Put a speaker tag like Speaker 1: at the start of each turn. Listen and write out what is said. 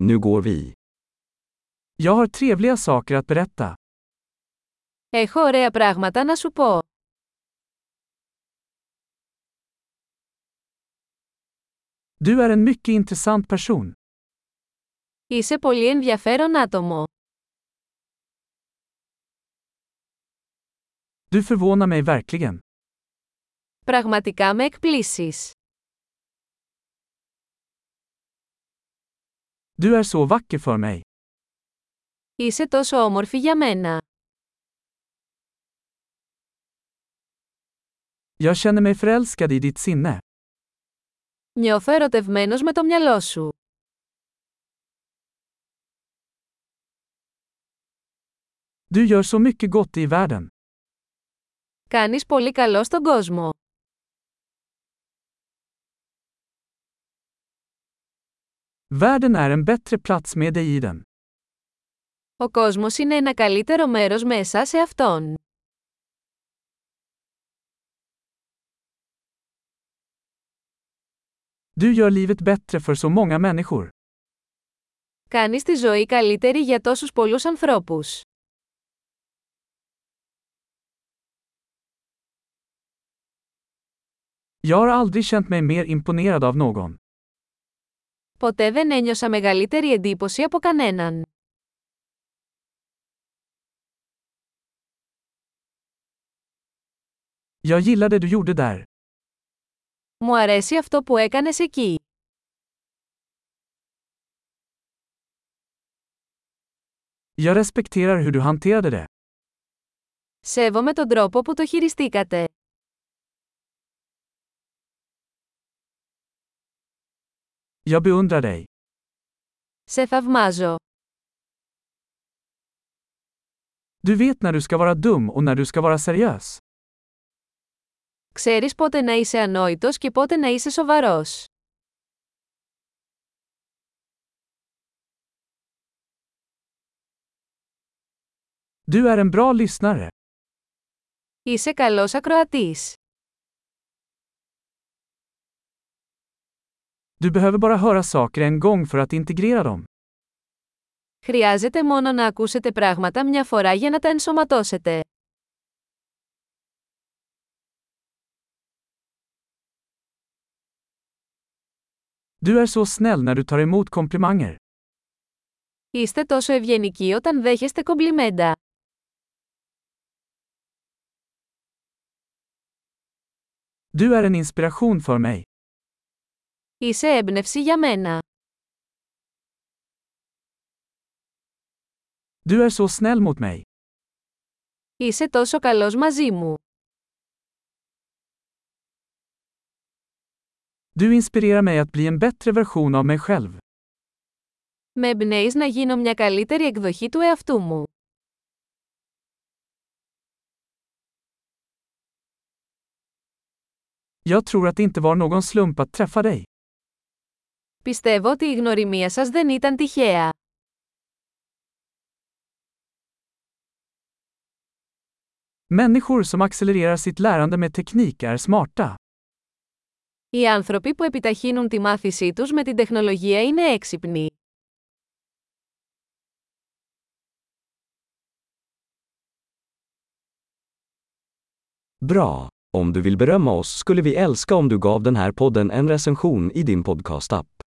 Speaker 1: Nu går vi.
Speaker 2: Jag har trevliga saker att berätta.
Speaker 3: Έχω ωραία πράγματα να σου πω.
Speaker 2: Du är en mycket intressant person.
Speaker 3: Είσαι πολύ ενδιαφέρον άτομο.
Speaker 2: Du förvånar mig verkligen.
Speaker 3: Πραγματικά με εκπλήσεις.
Speaker 2: Du är så vacker för mig.
Speaker 3: Είσαι τόσο όμορφη για μένα.
Speaker 2: Jag känner mig förälskad i ditt sinne.
Speaker 3: Νιώθω ερωτευμένος με το μυαλό σου.
Speaker 2: Du gör så mycket gott i världen.
Speaker 3: Κάνεις πολύ καλό στον κόσμο.
Speaker 2: Världen är en bättre plats med dig i den.
Speaker 3: Ο κόσμος είναι ένα καλύτερο μέρος με εσά σε αυτόν.
Speaker 2: Du gör livet bättre för så många människor.
Speaker 3: Κάνεις τη ζωή καλύτερη για τόσους πολλούς ανθρώπους.
Speaker 2: Jag har aldrig känt mig mer imponerad av någon.
Speaker 3: Ποτέ δεν ένιωσα μεγαλύτερη εντύπωση από κανέναν.
Speaker 2: Jag gillar det du gjorde där.
Speaker 3: Μου αρέσει αυτό που έκανες εκεί.
Speaker 2: Jag respekterar hur du hanterade det.
Speaker 3: Σέβομαι τον τρόπο που το χειριστήκατε.
Speaker 2: Jag beundrar dig.
Speaker 3: Σε θαυμάζω.
Speaker 2: Du vet när du ska vara dum och när du ska vara seriös.
Speaker 3: Ξέρεις πότε να είσαι ανόητος και πότε να είσαι σοβαρός.
Speaker 2: Du är en bra lyssnare.
Speaker 3: Είσαι καλός ακροατής.
Speaker 2: Du behöver bara höra saker en gång för att integrera dem.
Speaker 3: Χρειάζεται μόνο να ακούσετε πράγματα μια φορά για να τα ενσωματώσετε.
Speaker 2: Du är så snäll när du tar emot komplimanger.
Speaker 3: Είστε τόσο ευγενικοί όταν δέχεστε κομπλιμέντα.
Speaker 2: Du är en inspiration för mig.
Speaker 3: Είσαι έμπνευση για μένα.
Speaker 2: Du är så snäll mot mig.
Speaker 3: Είσαι τόσο καλός μαζί μου.
Speaker 2: Du inspirerar mig att bli en bättre version av mig själv.
Speaker 3: Με εμπνέεις να γίνω μια καλύτερη εκδοχή του εαυτού μου.
Speaker 2: Jag tror att det inte var någon slump att träffa dig.
Speaker 3: Πιστεύω ότι η γνωριμία σας δεν ήταν τυχαία.
Speaker 2: Människor som accelererar sitt lärande med teknik är smarta.
Speaker 3: Οι άνθρωποι που επιταχύνουν τη μάθησή τους με την τεχνολογία είναι έξυπνοι.
Speaker 1: Bra! Om du vill berömma oss skulle vi älska om du gav den här podden en recension i din podcastapp.